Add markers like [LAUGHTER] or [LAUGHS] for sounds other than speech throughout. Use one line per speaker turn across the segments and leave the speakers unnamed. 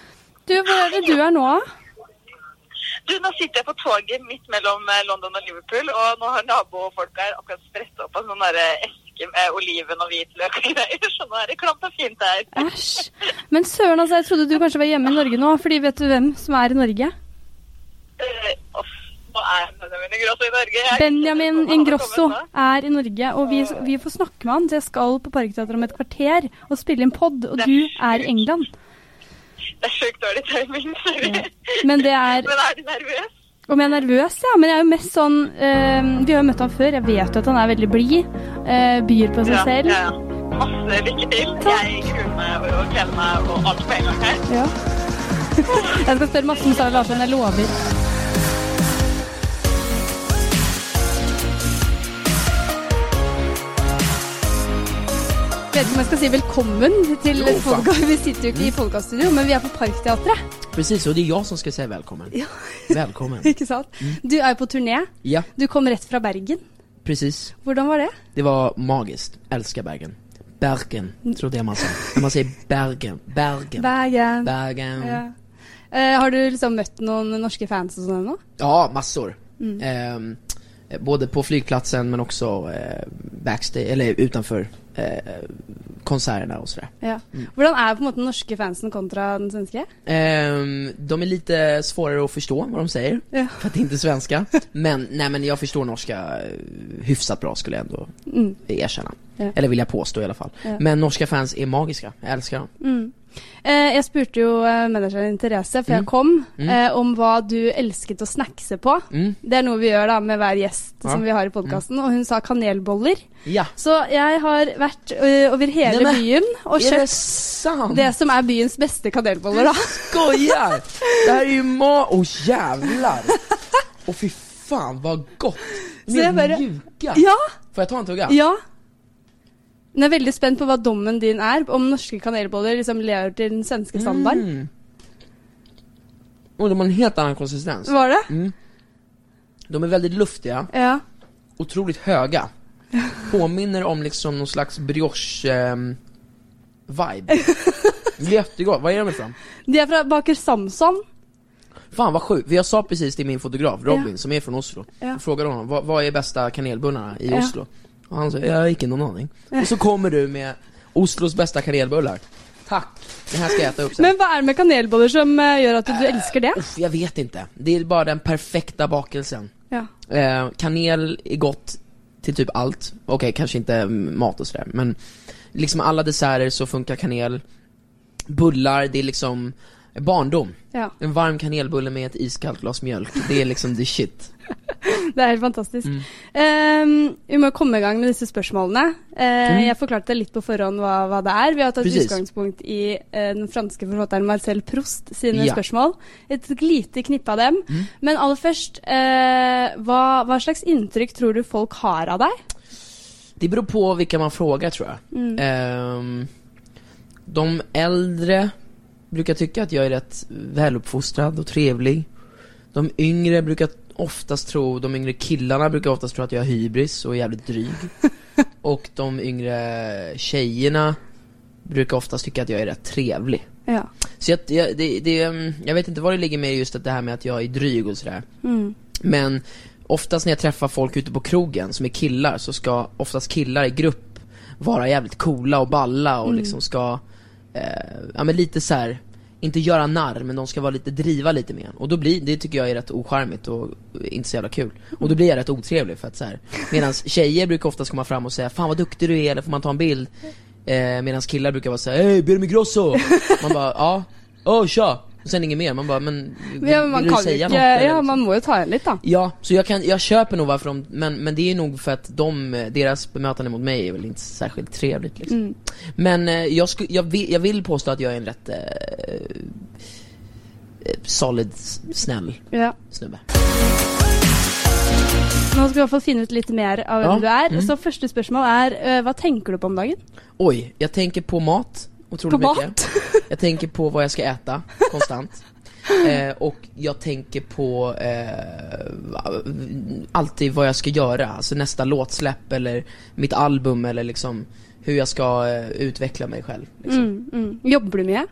hvor er det du er nå?
Du, nå sitter jeg på toget midt mellom eh, London og Liverpool, og nå har nabofolk her akkurat spredt opp en sånn derre eske eh, med oliven og hvitløk og greier, så nå er det klamt og fint her.
Æsj. Men søren, altså, jeg trodde du kanskje var hjemme i Norge nå, fordi vet du hvem som er i Norge?
Eh, Uff, nå er Benjamin Ingrosso i Norge. Jeg-
Benjamin
Han har
Ingrosso
kommet nå.
er i Norge, og vi, vi får snakke med han, så jeg skal på Parkteatret om et kvarter og spille en pod, og du er i England.
Det er sjukt dårlig timing, sorry.
Men det
[LAUGHS]
er
Men er du nervøs?
Om jeg er nervøs, ja. Men jeg er jo mest sånn eh, Vi har jo møtt han før. Jeg vet jo at han er veldig blid. eh, byr på seg
Ja,
selv.
ja, ja. Masse lykke til.
Takk.
Jeg gruer meg og gleder meg og alt på en gang her.
Ja. [LAUGHS] jeg skal spørre masse om Sara Larsson. Jeg lover. Vet ikke om jeg skal si velkommen til
Jo, Mm. faen.
podcast. Vi sitter jo ikke i podcaststudio, men vi er på Parkteatret. [LAUGHS]
Precis, och det är jag som ska säga välkommen. Välkommen.
Ikke sant?
Mm.
Du er jo på turné.
Ja,
Du kom rett fra Bergen.
precis.
Hvordan var det?
Det var magiskt. Älskar Bergen. Bergen, tror det man säger. När man säger Bergen. Bergen.
Bergen.
Bergen.
Ja. Eh, har du liksom møtt noen norske fans og sånn ennå?
Ja, massor. Ehm, både på flygplatsen men också eh, backstage, eller utanför eh, konserterna och sådär.
Ja. Hvordan er på en måte den norske fansen kontra den svenske?
Ehm, de är lite svårare att förstå vad de säger.
Ja.
För att det inte är svenska. Men, nej men jag förstår norska eh, hyfsat bra skulle jag ändå
Mm.
erkänna.
Ja.
Eller vill jag påstå i alla fall.
Ja.
Men norska fans är magiska, jag älskar dem.
Eh, jeg spurte jo eh, manageren din Therese før jeg kom, eh, om hva du elsket å snackse på.
Mm.
Det er noe vi gjør da med hver gjest
Ja. Mm.
som vi har i podkasten, og hun sa kanelboller.
Ja.
Så jeg har vært eh, over hele
Nei, men-
byen og
är det Mm.
kjøpt
sant?
det som er byens beste kanelboller, [LAUGHS] da.
Skojar! Det här är ju ma... Åh jävlar! Åh fy fan vad gott! De
Så
är
jag bara-
mjuka!
Ja!
Får jag ta en tugga?
Ja. Men jeg er veldig spent på hva dommen din er, om norske kanelboller liksom lever til den svenske standarden.
Mm. Och de har en helt annan konsistens.
Var det?
De är väldigt luftiga,
Ja.
otroligt höga. Påminner om liksom någon slags brioche-vibe.
[LAUGHS]
Jättegott, vad är de ifrån?
De er fra Baker Samson.
Fan vad sjukt, för jag sa precis till min fotograf Robin
Ja.
som är från Oslo,
Ja.
och frågade honom vad, vad är bästa kanelbullarna i
Ja.
Oslo? Och han sa, jag har icke någon aning. Och så kommer du med Oslos bästa kanelbullar. Tack, det här ska jag äta upp sen.
Men hva er det med kanelboller som eh, gjør at du elsker det?
Uff, jag vet inte, det är bara den perfekta bakelsen.
Ja.
Eh, kanel är gott till typ allt, okej kanske inte mm, mat och sådär men liksom alla desserter så funkar kanel. Bullar, det är liksom barndom.
ja.
En varm kanelbulle med ett iskallt glas mjölk, det är liksom the shit.
Det er helt fantastisk.
Mm.
Eh, vi må komme i gang med disse spørsmålene. Eh, Jeg forklarte litt på forhånd hva, hva det er. Vi har tatt
Mm. Precis.
utgangspunkt i eh, den franske forfatteren Marcel Proust sine
Ja. Mm.
spørsmål. Et lite knippe av dem. Men aller først, eh, hva, hva slags inntrykk tror du folk har av deg?
Det beror på vilka man frågar tror jag.
Mm.
Ehm, de äldre brukar tycka att jag är rätt väluppfostrad och trevlig. De yngre brukar oftast tro, de yngre killarna brukar oftast tro att jag har hybris och är jävligt dryg. och de yngre tjejerna brukar oftast tycka att jag är rätt trevlig.
Ja.
Så jag, jag, det, det, mm, jag vet inte vad det ligger med just att det här med att jag är dryg och sådär.
Mm.
Men oftast när jag träffar folk ute på krogen som är killar så ska oftast killar i grupp vara jävligt coola och balla
Mm.
och liksom ska, eh, ja men lite så här inte göra narr men de ska vara lite, driva lite med en. Och då blir, det tycker jag är rätt ocharmigt och inte så jävla kul. Och då blir jag rätt otrevlig för att så här. Medan tjejer brukar oftast komma fram och säga 'Fan vad duktig du är' eller 'Får man ta en bild?' Eh, Medan killar brukar vara såhär 'Hej, Benjamin Grosso!' Man bara 'Ja, åh tja' och sen inget mer, man bara 'Men, vill,
Ja, men man
vill du
kan jo
säga
ikke
något?' eller
Ja,
liksom?
man må jo ta igjen litt, da.
Ja, så jag, kan, jag köper nog varför de, men, men det är nog för att de, eh, deras bemötande mot mig är väl inte särskilt trevligt liksom.
Mm.
Men eh, jag, sku, jag, vill, jag vill påstå att jag är en rätt eh, eh, solid, s- snäll
Ja.
snubbe.
Nå skal vi i hvert fall finne ut litt mer av hvem
Ja. Mm.
du er. Så første spørsmål er eh, hva tenker du på om dagen?
Oj, jag tänker på mat otroligt
På
mycket.
mat? [LAUGHS]
Jag tänker på vad jag ska äta konstant. Eh, och jag tänker på eh, alltid vad jag ska göra, alltså nästa låtsläpp eller mitt album eller liksom hur jag ska eh, utveckla mig själv. Liksom.
Mm, mm. Jobber du mye?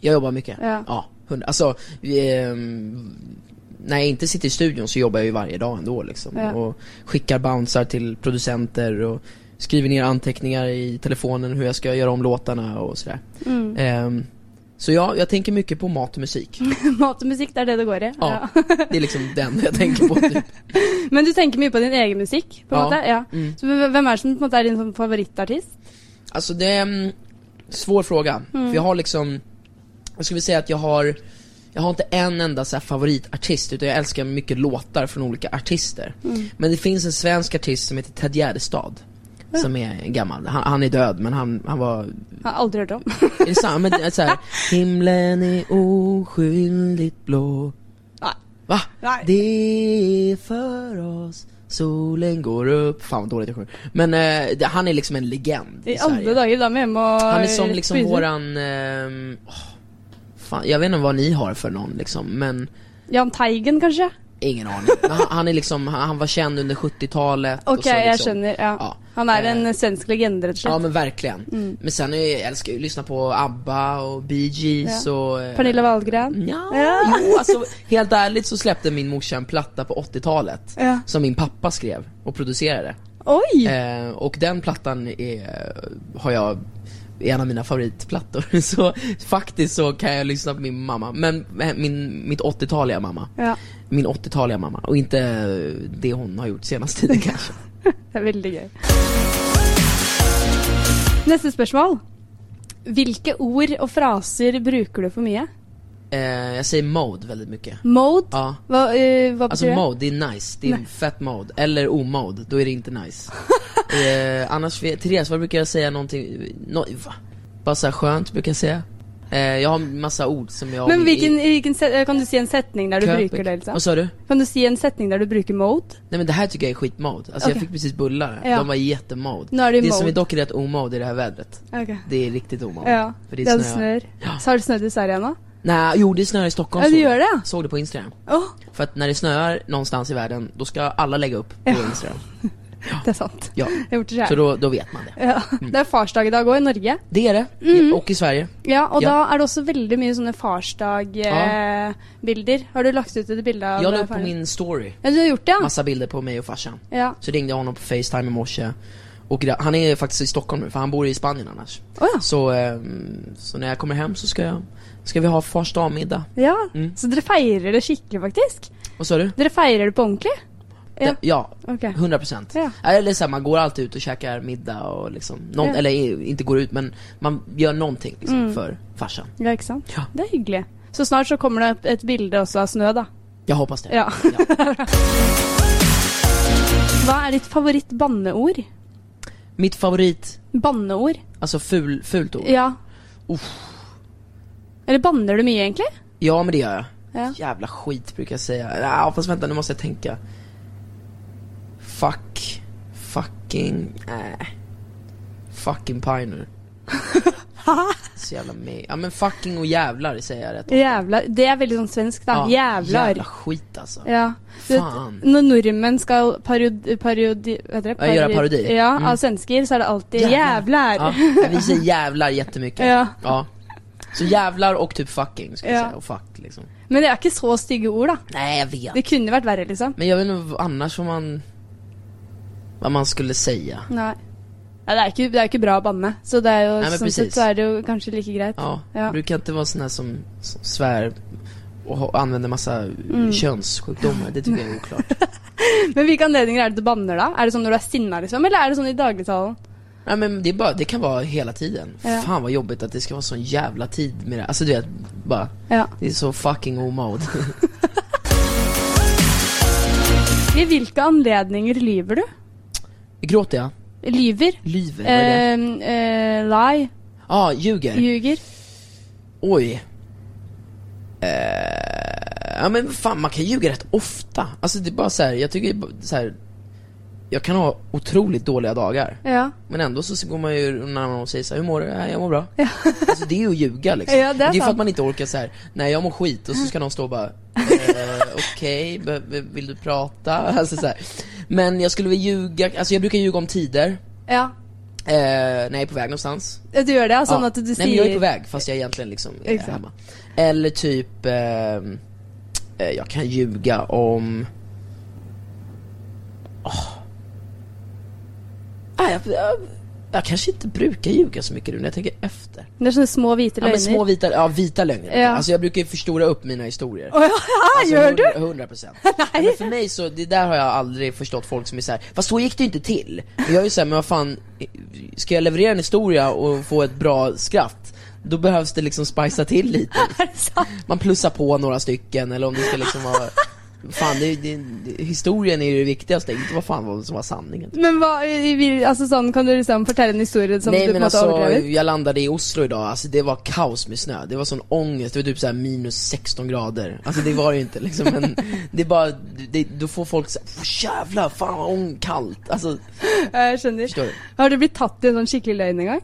Jag jobbar mycket.
Mm. Ja.
Ja, 100. Alltså, ehm, när jag inte sitter i studion så jobbar jag ju varje dag ändå liksom.
Ja.
Och skickar bouncer till producenter och skriver ner anteckningar i telefonen hur jag ska göra om låtarna och sådär.
Mm. [LAUGHS]
Ehm, så ja, jag tänker mycket på mat och musik.
Mat och musik, det är det det går i.
Ja. Det är liksom den jag tänker på typ.
[LAUGHS] Men du tänker mye på din egen musikk, på en
Ja.
måte? Ja.
Mm.
Så hvem- hvem er det som på en måte er din sånn favorittartist?
Alltså det är en svår fråga, för jag har liksom, jag skulle säga att jag har, jag har inte en enda så här favoritartist utan jag älskar mycket låtar från olika artister. Men det finns en svensk artist som heter Ted Gärdestad, som är gammal, han, han är död men han, han var
Jeg har aldri hørt
[LAUGHS]
om.
är det sant? Men det är så här, himlen är oskyldigt blå
Nej.
Va?
Nej.
Det är för oss Solen går upp Fan vad dåligt jag sjunger Men eh, det, han är liksom en legend i
I
Sverige.
alle dager, da må jeg hjem og
Han är som liksom
spise.
våran ehm, åh, Fan, jag vet inte vad ni har för någon liksom men
Jahn Teigen, kanskje?
Ingen aning Men han, han är liksom, han, han var känd under 70-talet och
Ok,
så
jeg
liksom,
skjønner. Ja.
Ja.
Han er en
Eh,
svensk legende, rett og
Ja
slett.
men verkligen.
Mm.
Men sen är, jag älskar ju att lyssna på ABBA och Bee Gees
Ja.
och... eh,
Pernilla Wahlgren.
Ja,
Ja.
jo alltså helt ärligt så släppte min morsa en platta på 80-talet
Ja.
som min pappa skrev och producerade.
Oi!
Eh, och den plattan är, har jag, är en av mina favoritplattor. [LAUGHS] Så faktiskt så kan jag lyssna på min mamma, men eh, min, mitt 80-taliga mamma.
Ja.
Min 80-taliga mamma och inte eh, det hon har gjort senaste tiden kanske.
Det er veldig gøy. Neste spørsmål. Hvilke ord og fraser bruker du for mye?
Eh, jag säger mode väldigt mycket.
Mode?
Ja.
Hva, eh, hva
Alltså
betyr det?
mode, det är nice, det är fett mode. Eller omode, då är det inte
[LAUGHS]
nice. eh, annars, vet- Therese, vad brukar jag säga någonting? No, va? Bara såhär skönt brukar jag säga. Eh, jag har en massa ord som jag...
Men hvilken, hvilken set, eh, Kan du si en setning der du
Köping.
bruker det? liksom?
Vad sa du?
Kan du si en setning der du bruker mode?
Nej men det här tycker jag är skitmode. Alltså jag
Okej.
fick precis bullar,
Ja.
de var jättemode.
Nu är det
det som
mode.
är dock är rätt omode i det här vädret. Det är riktigt omode.
Ja.
För det
Det
är
hadde
snö.
snør. Så har det snødd i Sverige ennå?
Nej, jo det snöar i Stockholm
Ja, det
såg jag.
gör det.
Såg det på Instagram.
Åh,
För att när det snöar någonstans i världen, då ska alla lägga upp på
Ja.
Instagram.
det är sant.
Ja.
Jag har gjort det
Så
själv.
då, Mm. då vet man det.
Ja. Det är farsdag idag òg i Norge.
Det är det,
Mm.
och i Sverige.
Ja, och
Ja.
då är det också väldigt mycket sådana farsdagbilder. bilder Har du lagt ut ett bild av
Jag la upp på
faren?
min story,
Ja, du har gjort det? ja.
massa bilder på mig och farsan.
Ja.
Så ringde jag honom på facetime i morse. Och gra- han är faktiskt i Stockholm nu, för han bor i Spanien annars.
Oh, ja.
Så, ehm, så när jag kommer hem så ska, jag, ska vi ha fars dag-middag.
ja.
Mm.
Så dere feirer det skikkelig, faktisk?
Vad sa du?
Dere feirer det på ordentlig? Ja.
Ja,
Okej.
100 procent.
Ja.
Eller så här, man går alltid ut och käkar middag och liksom,
Ja.
någon,
Mm.
eller i- inte går ut men man gör någonting liksom, för farsan.
Ja, ikke sant?
Ja.
Det er hyggelig. Så snart så kommer det opp et bilde også av snø, da.
Jag hoppas det.
Ja. [LAUGHS] Hva er ditt favoritt-banneord?
Mitt favorit,
Banneord?
alltså ful, fult ord.
Ja.
Uff.
Eller banner du mye, egentlig?
Ja men det gör jag.
Ja.
Jävla skit brukar jag säga. Ja, fast vänta nu måste jag tänka. Fuck. Fucking. Äh.
[LAUGHS]
Fucking piner. Så jävla mig. Ja men fucking och jävlar säger jag rätt.
Jævlar. Det er veldig sånn svensk, da.
Ja,
Jævlar.
Jävla skit alltså.
Ja. Du
Fan.
Vet, når nordmenn skal parodi... parodi hva heter det?
Ja, gjøre parodi.
Ja,
Mm. Ah.
av svensker, så er det alltid
Jävlar.
'jævlar'.
Ja, vi säger jävlar jättemycket.
Ja.
Så jävlar och typ fucking ska jag
Ja.
säga. Och fuck liksom.
Men det er ikke så stygge ord, da.
Nej jag vet.
Det kunne vært verre, liksom.
Men jag vet inte vad- annars vad man, vad man skulle säga.
Nei. Ja, det er ikke, det er ikke bra å banne, så det er jo
Nei, men
sånn
precis.
sett så er det jo kanskje like greit.
Ja,
Ja.
brukar inte vara sån här som, som svär och ha- använder massa
Mm.
könssjukdomar, det tycker jag
[LAUGHS]
är oklart.
Men hvilke anledninger er det du banner, da? Er det sånn når du er sinna, liksom? Eller er det sånn i dagligtalen?
Nej men det, är bara, det kan vara hela tiden.
Ja.
Fan vad jobbigt att det ska vara sån jävla tid med det. Alltså du vet, bara,
Ja.
det är så fucking omode.
I hvilke anledninger lyver du?
[LAUGHS] Gråter jag?
Lyver?
Lyver? Vad är det?
Eh, eh, lie?
Ja, ah, ljuger?
Ljuger?
Oj. Eh, ja men fan man kan ljuga rätt ofta. Alltså det är bara så här, jag tycker det är bara så här. Jag kan ha otroligt dåliga dagar.
Ja.
Men ändå så går man ju närmare och säger så här, hur mår du? "Ja, Jag mår bra. Alltså det är ju
[LAUGHS]
att ljuga liksom.
Ja, det är
Men det är för
sant.
att man inte orkar så här. nej jag mår skit och så ska någon stå och bara, eh, okej, be- be- vill du [LAUGHS] prata? Alltså så här. Men jag skulle väl ljuga, alltså jag brukar ljuga om tider.
Ja.
Eh, när jag är på väg någonstans.
Du gör det? Alltså
Ja.
att du
Nej
säger...
men jag är på väg fast jag egentligen liksom är
Exakt.
hemma. Eller typ, ehm, eh, jag kan ljuga om... Åh. Nej, jag, jag, jag kanske inte brukar ljuga så mycket nu när jag tänker efter.
Det är såna små vita
Ja,
lögner.
men små vita, ja, vita lögner.
Ja.
Alltså jag brukar ju förstora upp mina historier.
ja, [LAUGHS] gör du?
100 procent. Men för mig så, det där har jag aldrig förstått folk som är såhär, fast så gick det ju inte till. Men jag är ju såhär, men vad fan, ska jag leverera en historia och få ett bra skratt, då behövs det liksom spicea till lite.
Är det sant?
Man plussar på några stycken eller om det ska liksom vara, fan det, det, det, historien är ju det viktigaste, inte vad fan vad som var sanningen.
Men vad, i- i- alltså sånn, kan du liksom fortelle en historie som
Nej
du på en
men
måte
alltså,
har overdrevet?
jag landade i Oslo idag, alltså det var kaos med snö, det var sån ångest, det var typ såhär minus 16 grader Alltså det var det ju inte liksom, men det är bara, det, då får folk såhär, "Åh, jävlar, fan vad ång- kallt, alltså
Ja, Jeg skjønner.
förstår du?
Har du blitt tatt i en sånn skikkelig løgn en gang?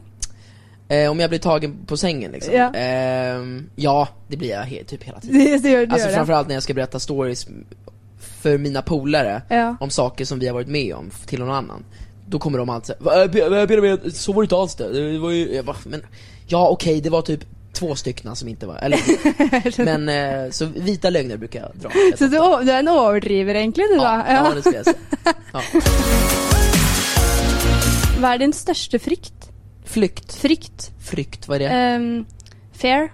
Eh, om jag blir tagen på sängen liksom?
Ja.
Ehm, ja, det blir jag he- typ hela
Så
tiden
gjør du gjør [LAUGHS]
Alltså
det?
framförallt när jag ska berätta stories för mina polare
Ja.
om saker som vi har varit med om till någon annan Då kommer de alltid säga Benjamin, så var det inte alls det, det var ju, jag bara, men, ja okej det var typ två stycken som inte var,
[LAUGHS]
eller, men eh, så vita lögner brukar jag dra
Så du, o- du er en overdriver, egentlig? du da?
ja, ja, det skulle jag säga ja.
Hva er din største frykt?
Flykt,
Frykt?
flykt, vad är det?
Um, fair?
Ja,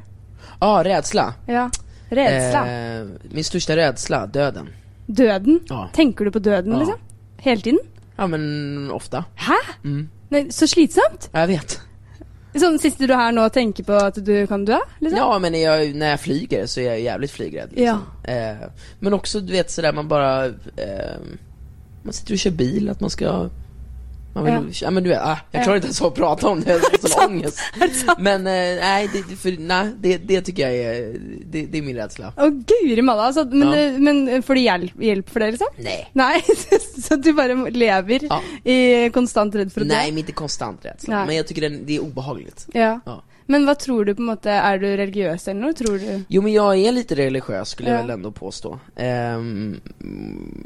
ah, rädsla
Ja. Redsla?
Eh, Min största rädsla, döden
Døden?
Ja.
Tenker du på døden,
Ja.
liksom? Hele tiden?
Ja men ofta,
Hæ?
mm.
Nei, så slitsomt?
Ja, jag vet
Sånn sitter du her nå og tenker på at du kan dø? liksom?
Ja men jag, när jag flyger så är jag jävligt flygrädd liksom. eh, Men også du vet sådär man bara eh, Man sitter och kör bil, att man ska man vill, ja. men du vet, ah, jag
Ja.
klarar inte ens av att prata om
[LAUGHS]
det, jag har sån
Sant.
ångest
Er det sant?
Men eh, nej, det, det- för, nej det, det tycker jag är, det, det är min rädsla
Å, guri malla. Altså, men,
Ja.
eh, men får du hjelp, hjelp for det, liksom?
Nej,
Nei, [LAUGHS] så du bare lever
Ja.
i konstant redd for å dø?
nej men inte konstant rädsla,
Nej.
men jag tycker det, det är obehagligt
Ja.
ja.
Men hva tror du på en måte, er du religiøs eller noe, tror du?
Jo men jag är lite religiös skulle jag
Ja.
väl ändå påstå Ehm,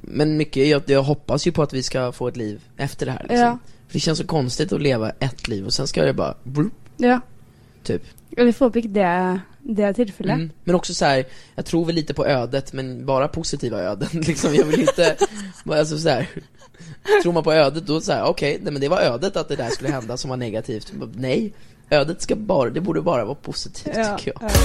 Men mycket, jag, jag hoppas ju på att vi ska få ett liv efter det här liksom.
Ja.
För det känns så konstigt att leva ett liv och sen ska det bara brup,
Ja.
typ
Og vi får håpe ikke det, det er tilfellet.
mm. Men också så här, jag tror väl lite på ödet men bara positiva öden [LAUGHS] liksom Jag vill inte, bara, alltså så här. Tror man på ödet då så här, okej, nej men det var ödet att det där skulle hända som var negativt Bara, Nej, ödet ska bara, det borde bara vara positivt
Ja,
tycker jag
ja.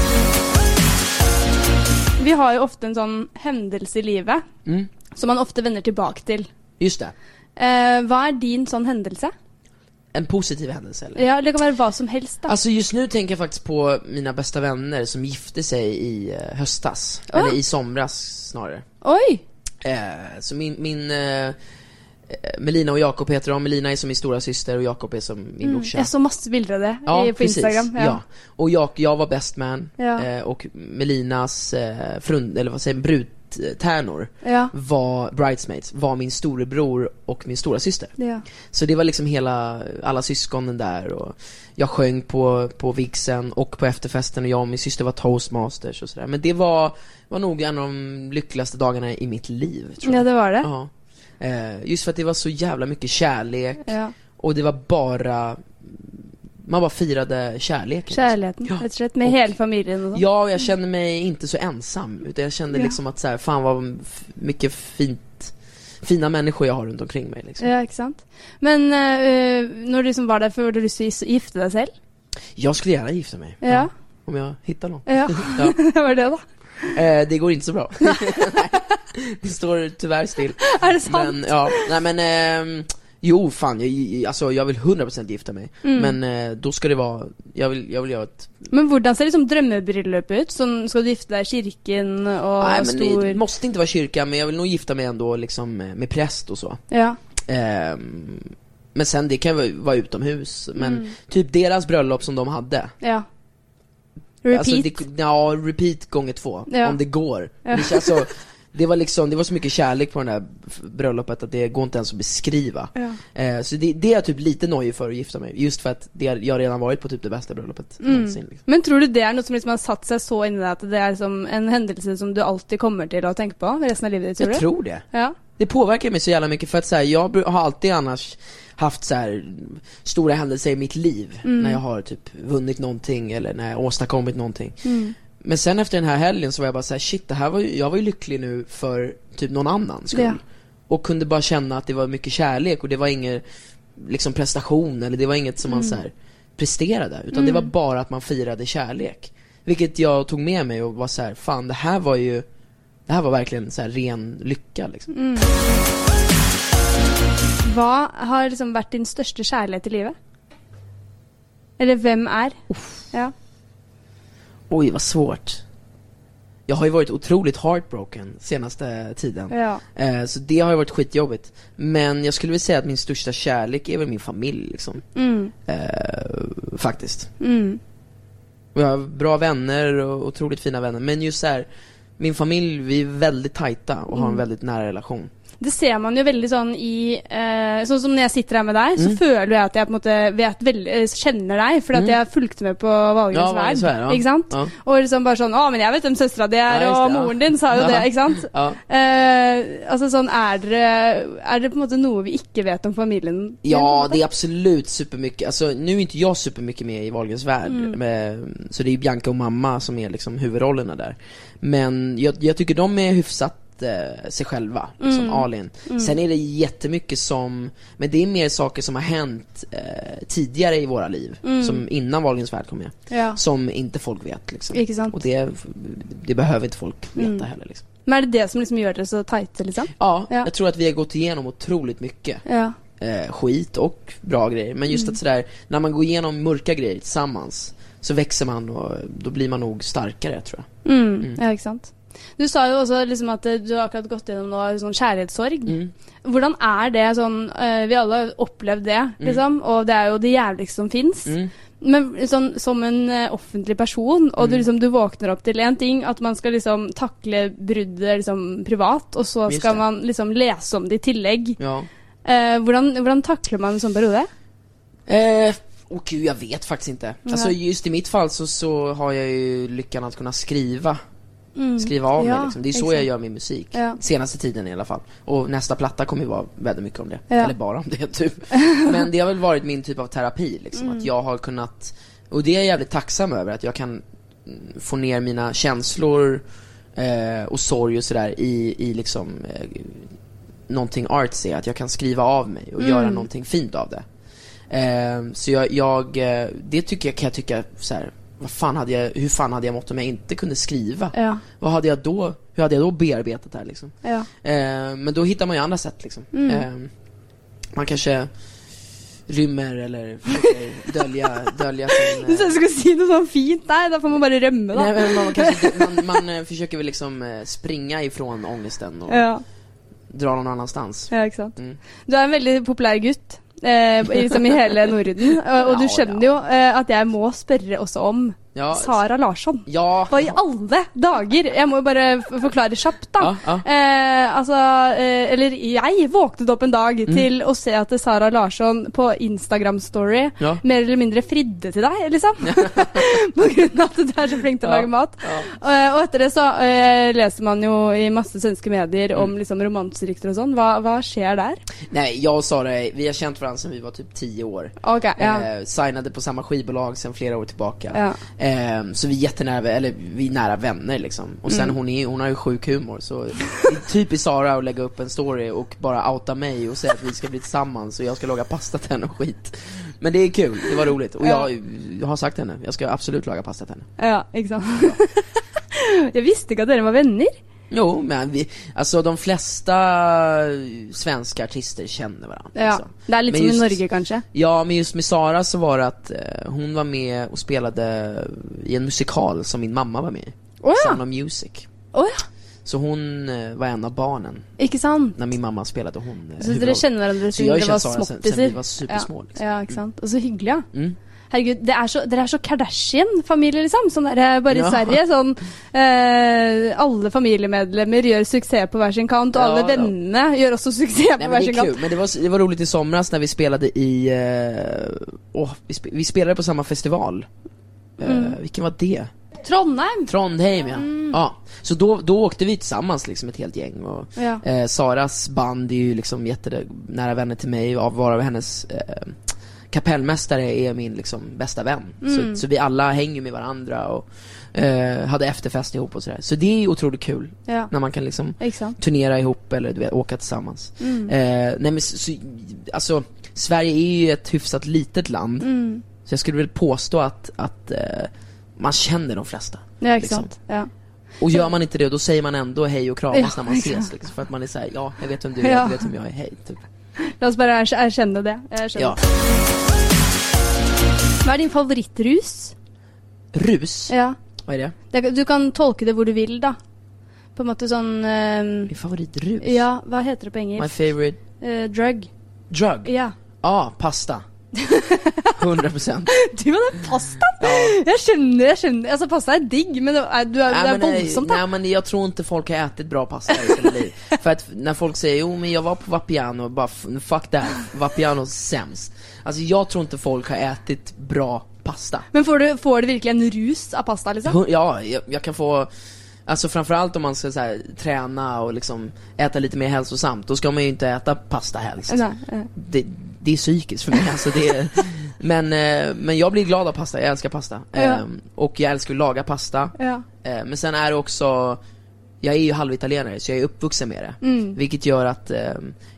Vi har jo ofte en sånn hendelse i livet
mm.
som man ofte vender tilbake til.
Just det,
Eh, hva er din sånn hendelse?
en positiv händelse eller?
Ja, Det kan være hva som helst. da.
Alltså just nu tänker jag faktiskt på mina bästa vänner som gifte sig i eh, höstas,
Ah.
eller i somras snarare.
Oi!
Eh, så min, min eh, eh, Melina och Jakob heter de, Melina är som min stora syster och Jakob är som min
Mm,
brorsa.
jeg så masse bilder av det i, på Instagram.
Ja. Och jag, jag var best man,
Ja.
eh, och Melinas eh, frund, eller vad säger man, brudtärnor
Ja.
var, bridesmaids, var min storebror och min stora syster.
ja.
Så det var liksom hela, alla syskonen där och jag sjöng på, på vigseln och på efterfesten och jag och min syster var toastmasters och sådär. Men det var, var nog en av de lyckligaste dagarna i mitt liv tror
ja,
jag.
det var det.
Ja. Eh, just för att det var så jävla mycket kärlek
Ja.
och det var bara, man bara firade kärleken.
Kjærligheten,
Ja.
rett och slett. Med
Och-
hela familjen och sånt.
Ja, och jag kände mig inte så ensam utan jag kände
Ja.
liksom att så här, fan vad f- mycket fint, fina människor jag har runt omkring mig liksom.
Ja, ikke sant. Men uh, når du liksom var der før, hadde du lyst til å gis- gifte deg selv?
Jag skulle gärna gifta mig.
Ja.
Om jag hittar någon.
Ja, [LAUGHS]
Ja.
det var det, da.
Eh, det går inte så bra. det står tyvärr still.
Er det sant?
Men, ja, nej men, ehm, jo fan, jag, alltså, jag vill 100% gifta mig.
Mm.
Men eh, då ska det vara, jag vill, jag vill göra ett...
Men hvordan ser liksom drømmebröllopet ut? Sånn, skal du gifte deg i kirken og
nej, men
stor
det måste inte vara kyrka, men jag vill nog gifta mig ändå liksom eh, med präst och så.
Ja.
Ehm, men sen, det kan ju vara utomhus. Men
Mm.
typ deras bröllop som de hade.
ja. Repeat.
Alltså, det, ja, repeat gånger två.
Ja.
Om det går.
Ja.
Det, känns så, det var liksom, det var så mycket kärlek på det här bröllopet att det går inte ens att beskriva.
ja.
Eh, så det, det är jag typ lite nojig för att gifta mig, just för att det, jag har redan varit på typ det bästa bröllopet
Mm.
någonsin. Liksom.
Men tror du det er noe som liksom har satt seg liksom så inni deg at det er som en hendelse som du alltid kommer til å tenke på resten av livet ditt?
Jag
Tror du?
tror det.
Ja.
Det påverkar mig så jävla mycket för att så här, jag bru- har alltid annars haft så här, stora händelser i mitt liv
Mm.
när jag har typ vunnit någonting eller när jag åstadkommit någonting.
Mm.
Men sen efter den här helgen så var jag bara så här, shit det här var ju, jag var ju lycklig nu för typ någon annans skull.
Ja.
Och kunde bara känna att det var mycket kärlek och det var ingen liksom prestation eller det var inget som man så här presterade utan det var bara att man firade kärlek. Vilket jag tog med mig och var så här, fan det här var ju, det här var verkligen så här ren lycka liksom.
Mm. Vad har liksom varit din största kärlek i livet? Eller vem är? Ja.
Oj vad svårt. Jag har ju varit otroligt heartbroken senaste tiden.
Ja.
Eh, Så det har ju varit skitjobbigt. Men jag skulle vilja säga att min största kärlek är väl min familj liksom.
Mm.
Eh, faktiskt.
Mm.
Och jag har bra vänner och otroligt fina vänner. Men just så här, min familj, vi är väldigt tajta och har en väldigt nära relation.
Det ser man ju veldig sånn i eh, Sånn som når jeg sitter her med deg,
Mm.
så føler jeg at jeg på en måte vet veldig, eh, kjenner deg, fordi at jeg fulgte med på
Ja,
Valgrens
Valgrens
verd.
verd, ja.
Ikke sant?
Ja.
Og liksom bare sånn Å, men jeg vet hvem søstera di er,
Ja, just
og
det, ja.
moren din sa jo det,
Ja.
ikke sant?
Ja.
Eh, altså sånn er dere Er det på en måte noe vi ikke vet om familien? din, på
Ja,
en måte?
det är absolut supermycket. Alltså, nu är inte jag supermycket med i Wahlgrens värld, men- så det är ju Bianca och mamma som är liksom huvudrollerna där. Men jag, jag tycker de är hyfsat eh, sig själva, liksom Alin. Sen är det jättemycket som, men det är mer saker som har hänt eh, tidigare i våra liv, som innan Wahlgrens värld kom med,
ja.
som inte folk vet liksom.
Ikke sant?
Och det, det behöver inte folk veta heller liksom.
Men er det det som liksom gjør dere så tighte, liksom?
Ja,
Ja.
jag tror att vi har gått igenom otroligt mycket
Ja.
eh, skit och bra grejer. Men just att sådär, när man går igenom mörka grejer tillsammans så växer man och då blir man nog starkare tror jag.
Mm, Ja, ikke sant. Du sa jo også liksom at eh, du har akkurat gått gjennom nå sånn kjærlighetssorg. Hvordan er det sånn eh, Vi alle har opplevd det,
Mm.
liksom. Og det er jo det jævligste som fins. Men sånn, som en eh, offentlig person, og
Mm.
du liksom du våkner opp til én ting, at man skal liksom takle bruddet liksom privat, og så
Just
skal
det.
man liksom lese om det i tillegg.
Ja.
Eh, hvordan, hvordan takler man en sånn periode?
Eh, åh gud, jag vet faktiskt inte. Alltså just i mitt fall så, så har jag ju lyckan att kunna skriva. Skriva av
Mm. Ja,
mig liksom. Det är så
exakt.
jag gör min musik.
Ja.
Senaste tiden i alla fall. Och nästa platta kommer ju vara väldigt mycket om det.
Ja.
Eller bara om det [LAUGHS] typ. Men det har väl varit min typ av terapi liksom.
Mm.
Att jag har kunnat, och det är jag jävligt tacksam över. Att jag kan mm, få ner mina känslor eh, och sorg och sådär i, i liksom eh, någonting artsy. Att jag kan skriva av mig och
Mm.
göra någonting fint av det. Ehm, så jag, jag eh, det tycker jag, kan jag tycka så här, vad fan hade jag, hur fan hade jag mått om jag inte kunde skriva?
Ja.
Vad hade jag då, hur hade jag då bearbetat det här liksom?
Ja.
Ehm, men då hittar man ju andra sätt liksom.
Mm.
Ehm, man kanske rymmer eller
[LAUGHS]
försöker dölja, dölja sin... eh,
Du sa jeg skulle si noe sånn fint der, da får man bare rømme, da.
Nej, men man, kanske,
[LAUGHS]
man, man eh, försöker väl liksom eh, springa ifrån ångesten och
ja.
dra någon annanstans.
Ja, ikke sant.
Mm.
Du er en veldig populær gutt. Eh, i- liksom I hele Norden. Og, og du
[LAUGHS] Ja,
skjønner jo eh, at jeg må spørre også om
Ja,
Sara Larsson.
ja,
Hva i alle dager? Jeg må jo bare f- forklare kjapt, da.
Ja, ja.
Eh, altså eh, Eller jeg våknet opp en dag
Mm.
til å se at Sara Larsson på Instagram-story [LAUGHS]
Ja.
mer eller mindre fridde til deg,
[LAUGHS]
liksom. på grunn av at du er så flink til å
Ja,
lage mat.
ja.
Eh, og etter det så eh, leser man jo i masse svenske medier
Mm.
om liksom romanserykter och sånn. Hva, hva skjer der?
nej, jag och Sara, eh, vi har känt varandra sedan vi var typ 10 år.
Ok, ja.
Eh, signade på samma skivbolag sedan flera år tillbaka.
Ja.
Eh, så vi är jättenära, eller vi är nära vänner liksom. Och sen
Mm.
hon, är, hon har ju sjuk humor så det är typiskt Sara att lägga upp en story och bara outa mig och säga att vi ska bli tillsammans och jag ska laga pasta till henne och skit. Men det är kul, det var roligt. Och
Ja.
jag, jag har sagt till henne, jag ska absolut laga pasta till henne.
ja, ikke sant. [LAUGHS] jeg visste ikke at dere var venner.
Jo, men vi, alltså de flesta svenska artister känner varandra.
Ja.
liksom.
Det er litt
Men
som
just-
i Norge, kanskje.
Ja, men just med Sara så var det att eh, hon var med och spelade i en musikal som min mamma var med i.
Åh, ja.
Sound of Music.
Å ja,
Så hon eh, var en av barnen
ikke sant?
när min mamma spelade hon eh,
Så dere
huvudrollen.
kjenner hverandre
Så
siden
jeg har
dere
kjent
var
Sara sen-
småttiser?
sen vi var supersmå, liksom.
Ja, ja, ikke sant. Og så hyggelig, ja.
Mm.
Herregud, det er så, dere er så Kardashian-familie, liksom. Sånn der, bare i
Ja.
Sverige. Sånn eh, Alle familiemedlemmer gjør suksess på hver sin kant, og
Ja,
alle
ja.
vennene gjør också suksess på
Nej, men
hver
det, är
sin kant.
kul. men det, var, det var roligt i somras när vi spelade i, eh, åh, vi, spe,
Mm.
vi spelade på samma festival. Eh, vilken var det?
Trondheim!
Trondheim ja.
Mm.
Ja, så då, då åkte vi tillsammans liksom ett helt gäng och
Ja.
eh, Saras band är ju liksom jättenära vänner till mig och varav hennes eh, kapellmästare är min liksom bästa vän. Så, så vi alla hänger med varandra och eh, hade efterfest ihop och sådär. Så det är ju otroligt kul
Ja.
när man kan liksom
Exakt.
turnera ihop eller du vet, åka tillsammans. Eh, nej men så, så, alltså, Sverige är ju ett hyfsat litet land.
Mm.
Så jag skulle väl påstå att, att eh, man känner de flesta.
Ja,
liksom.
exakt. Ja.
Och gör man inte det, då säger man ändå hej och kramas
Ja,
när man ses.
exakt.
Liksom, för att man är såhär, ja, jag vet vem du är,
Ja.
du vet vem jag är, hej. Typ.
Låt oss bara erk- erkänna det. Erkänna.
Ja.
Vad är din favorittrus?
Rus,
Ja.
vad är det?
Det- Du kan tolke det hvor du vil, da. På en måte sånn ehm,
Min favoritrus?
Ja, hva heter det på
My
engelsk?
favorite
Eh, drug.
drug? Ja,
Ja.
ah, pasta.
[LAUGHS]
100%.
Du hadde pasta! Jeg skjønner, jeg skjønner. Altså, Alltså, pasta er digg, men det er, du er, det
Nej,
er
men,
voldsomt,
nej,
da.
nej men jag tror inte folk har ätit bra pasta i sina
[LAUGHS]
liv. För att när folk säger jo men jag var på Vapiano, bara f- fuck that, Vapiano är sämst. Alltså jag tror inte folk har ätit bra pasta.
Men får du, får du virkelig en rus av pasta, liksom?
Hu- Ja, jag, jag kan få Alltså framförallt om man ska så här, träna och liksom äta lite mer hälsosamt, då ska man ju inte äta pasta helst.
Nei, eh,
Det, det är psykiskt för
[LAUGHS]
mig alltså det är, men, eh, men jag blir glad av pasta, jag älskar pasta.
Ja.
Ehm, Och jag älskar att laga pasta.
ja.
Eh, Men sen är det också, jag är ju halvitalienare så jag är uppvuxen med det.
Mm.
Vilket gör att eh,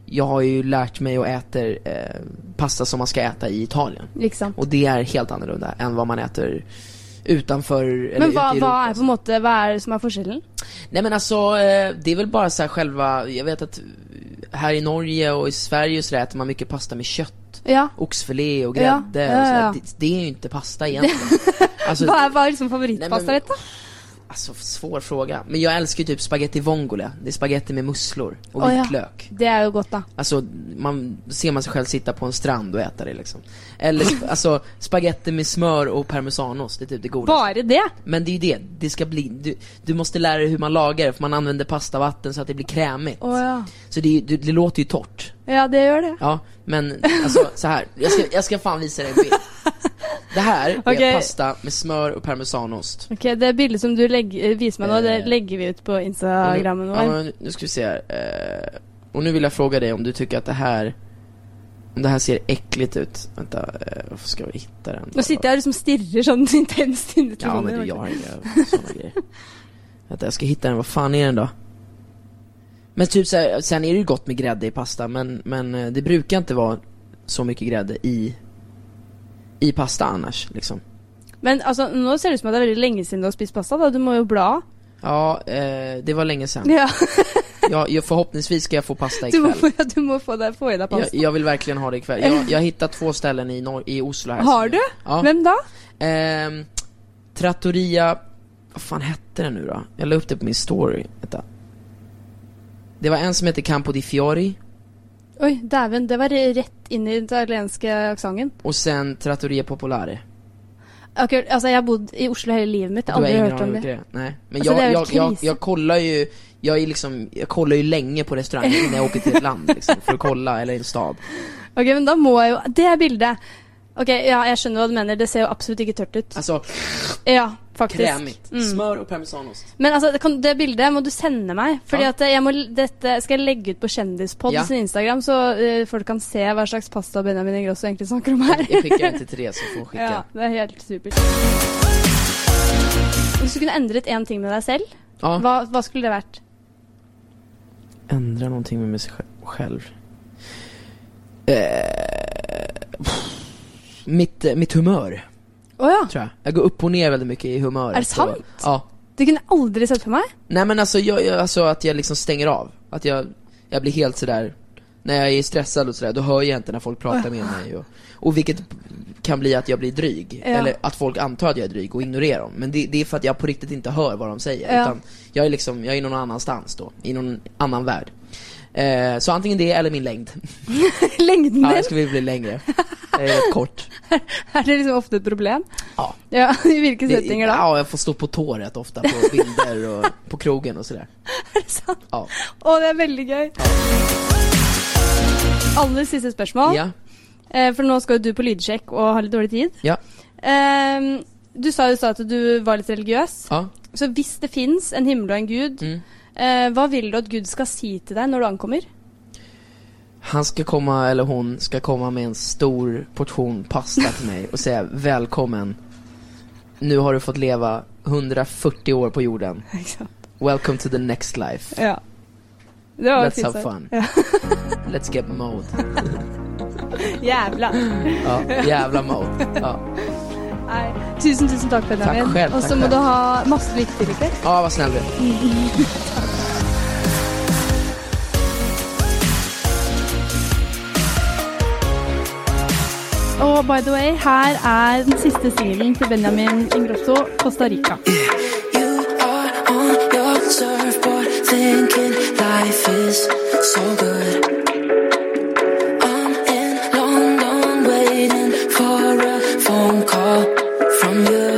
jag har ju lärt mig att äta eh, pasta som man ska äta i Italien.
Ikke sant.
Och det är helt annorlunda än vad man äter utanför, eller alltså.
Men hva,
ute i
hva
Europa.
er på en måte Hva er det som er forskjellen?
Nej men alltså, eh, det är väl bara så här själva, jag vet att eh, här i Norge och i Sverige och sådär äter man mycket pasta med kött.
Ja.
Oxfilé och
Ja,
grädde
ja,
och sådär.
ja.
Det, det är ju inte
[LAUGHS]
pasta egentligen. Alltså,
Hva er, hva er liksom
Nei, men-
favorittpastaen din, da?
Alltså svår fråga. Men jag älskar ju typ spaghetti vongole. Det är spaghetti med musslor och
Åh, ja.
vitlök.
Det er jo godt, da.
Alltså man ser man sig själv sitta på en strand och äta det liksom. Eller sp- alltså spaghetti med smör och parmesanost, det är typ det godaste.
Bare det?
Men det är ju det, det ska bli, du, du måste lära dig hur man lagar det för man använder pastavatten så att det blir krämigt.
Å ja.
Så det, är ju- det, det låter ju torrt.
Ja, det gjør det.
Ja, men
[LAUGHS]
alltså så här. Jag ska, jag ska fan visa dig en bild. Det här
Okej.
är pasta med smör och parmesanost.
Ok, Det bildet som du legger, viser meg nå, det
Eh.
legger vi ut på
Och nu-
Instagrammen
ja,
vår.
men nu ska vi se här. Eh, och nu vill jag fråga dig om du tycker att det här om det här ser äckligt ut. Vänta, eh, varför ska vi hitta den?
Nå sitter jeg og liksom stirrer sånn [LAUGHS] intenst inn i
Ja men du, jag
telefonen.
har inga [LAUGHS] såna grejer. Vänta, jag ska hitta den. Vad fan är den då? Men typ så här, sen är det ju gott med grädde i pasta, men, men eh, det brukar inte vara så mycket grädde i i pasta annars liksom.
Men altså, nå ser det ut som at det er veldig lenge siden du har spist pasta. da, Du må jo bla.
Ja, eh, det var länge sen.
Ja,
Jag, jag, förhoppningsvis ska jag få
Du
pasta ikväll.
må, ja, du må få, deg, få i deg
Jag,
pasta.
jag vill verkligen ha det ikväll. Jag, jag har hittat två ställen i, norr, i Oslo här.
Har du?
Ja.
Hvem da?
Ehm, trattoria... Vad fan hette den nu då? Jag la upp det på min story. Vänta. Det var en som hette Campo di Fiori
Oi, dæven. Det var rett inn i den italienske aksenten.
och sen Trattoria Popolare.
Akkurat, Altså, jeg alltså, har bodd i Oslo hele livet mitt. Jeg har aldri hørt om det.
det? Nej. Men
Alltså, det är
jag,
ju
jag, jag,
kris.
jag kollar ju... Jag, är liksom, jag kollar ju länge på restauranger innan jag åker till ett land liksom, för att kolla, eller en stad.
Ok, men da må jeg jo Det er bildet! Ok, ja, jeg skjønner hva du mener. Det ser jo absolutt ikke tørt ut.
Alltså,
Ja, faktisk.
krämigt.
Mm.
Smör och parmesanost.
[LAUGHS] Men altså, det, kan, det bildet må du sende meg. Fordi
Ja.
at jeg må, dette skal jeg legge ut på Kjendispodd
Ja.
sin Instagram, så eh, folk kan se hva slags pasta Benjamin Ingrosso egentlig snakker om her.
Jag skickar den till Therese så får hon skicka.
ja, det er helt supert. Hvis du kunne endret én ting med deg selv,
Ja.
hva, hva skulle det vært?
ändra någonting med mig sj- själv? Eh, pff, mitt, eh, mitt humör,
Å ja!
tror jag. Jag går upp och ner väldigt mycket i humöret.
Är det sant?
Och, ja.
Det kunne jeg aldri sett for [LAUGHS] meg.
Nej men alltså, jag, jag, alltså att jag liksom stänger av. Att jag, jag blir helt sådär, när jag är stressad och sådär, då hör jag inte när folk pratar med mig. Och, och vilket kan bli att jag blir dryg.
Ja.
Eller att folk antar att jag är dryg och ignorerar dem. Men det, det är för att jag på riktigt inte hör vad de säger.
Ja.
Utan jag är liksom, jag är någon annanstans då. I någon annan värld. Eh, så antingen det eller min längd.
Lengden
Ja, jag
din,
skulle vilja bli längre. Jag är rätt kort.
er det liksom ofte et problem? [LAUGHS]
Ja.
Ja, I hvilke
Det,
settinger da?
ja, jag får stå på tå rätt ofta på
[LAUGHS]
bilder och på krogen och sådär.
Er det sant?
Ja.
Å, det er veldig gøy. Aller siste spørsmål.
Ja.
Eh, For nå skal jo du på lydsjekk og har litt dårlig tid.
Ja.
Ehm, du sa jo i stad at du var litt religiøs.
ja.
Så hvis det fins en himmel og en gud,
Mm.
eh, hva vil du at Gud skal si til deg når du ankommer? [LAUGHS]
Han ska komma, eller hon, ska komma med en stor portion pasta till mig och säga välkommen. Nu har du fått leva 140 år på jorden.
Ikke sant?
Welcome to the next life.
Ja. Det var
Let's
fint
have
sagt.
fun.
Ja.
Let's get mode.
Jævla.
Ja, jävla mode. Ja,
Nei. Tusen, tusen takk, Benjamin.
Takk selv,
Og så
takk
må
selv.
du ha masse lykke til. ikke?
ja vad snäll du är.
Og by the way, her er den siste singelen til Benjamin Ingrosso, Costa Rica.
You are on your surfboard, thinking life is so good. I'm in London, waiting for a phone call from you.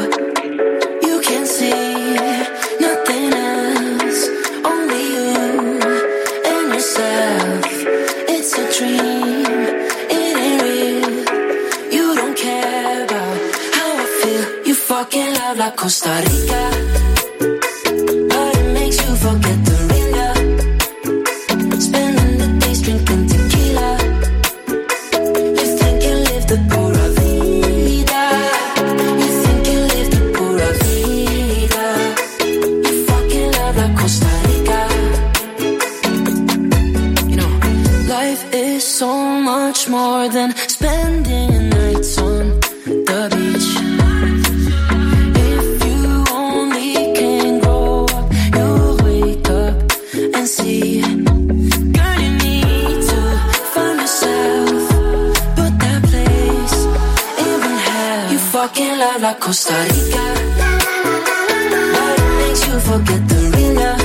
You can see nothing else, only you and yourself. It's a dream, it ain't real. You don't care about how I feel. You fucking love like Costa Rica. But it makes you forget the ringer. Spending the days drinking tequila. You think you live the pura vida. You think you live the pura vida. You fucking love like Costa Rica. You know, life is so much more than spending nights on the beach. If you only can grow up, you'll wake up and see. Girl, you need to find yourself, but that place it won't have. You fucking love like Costa Rica, but it makes you forget the real love.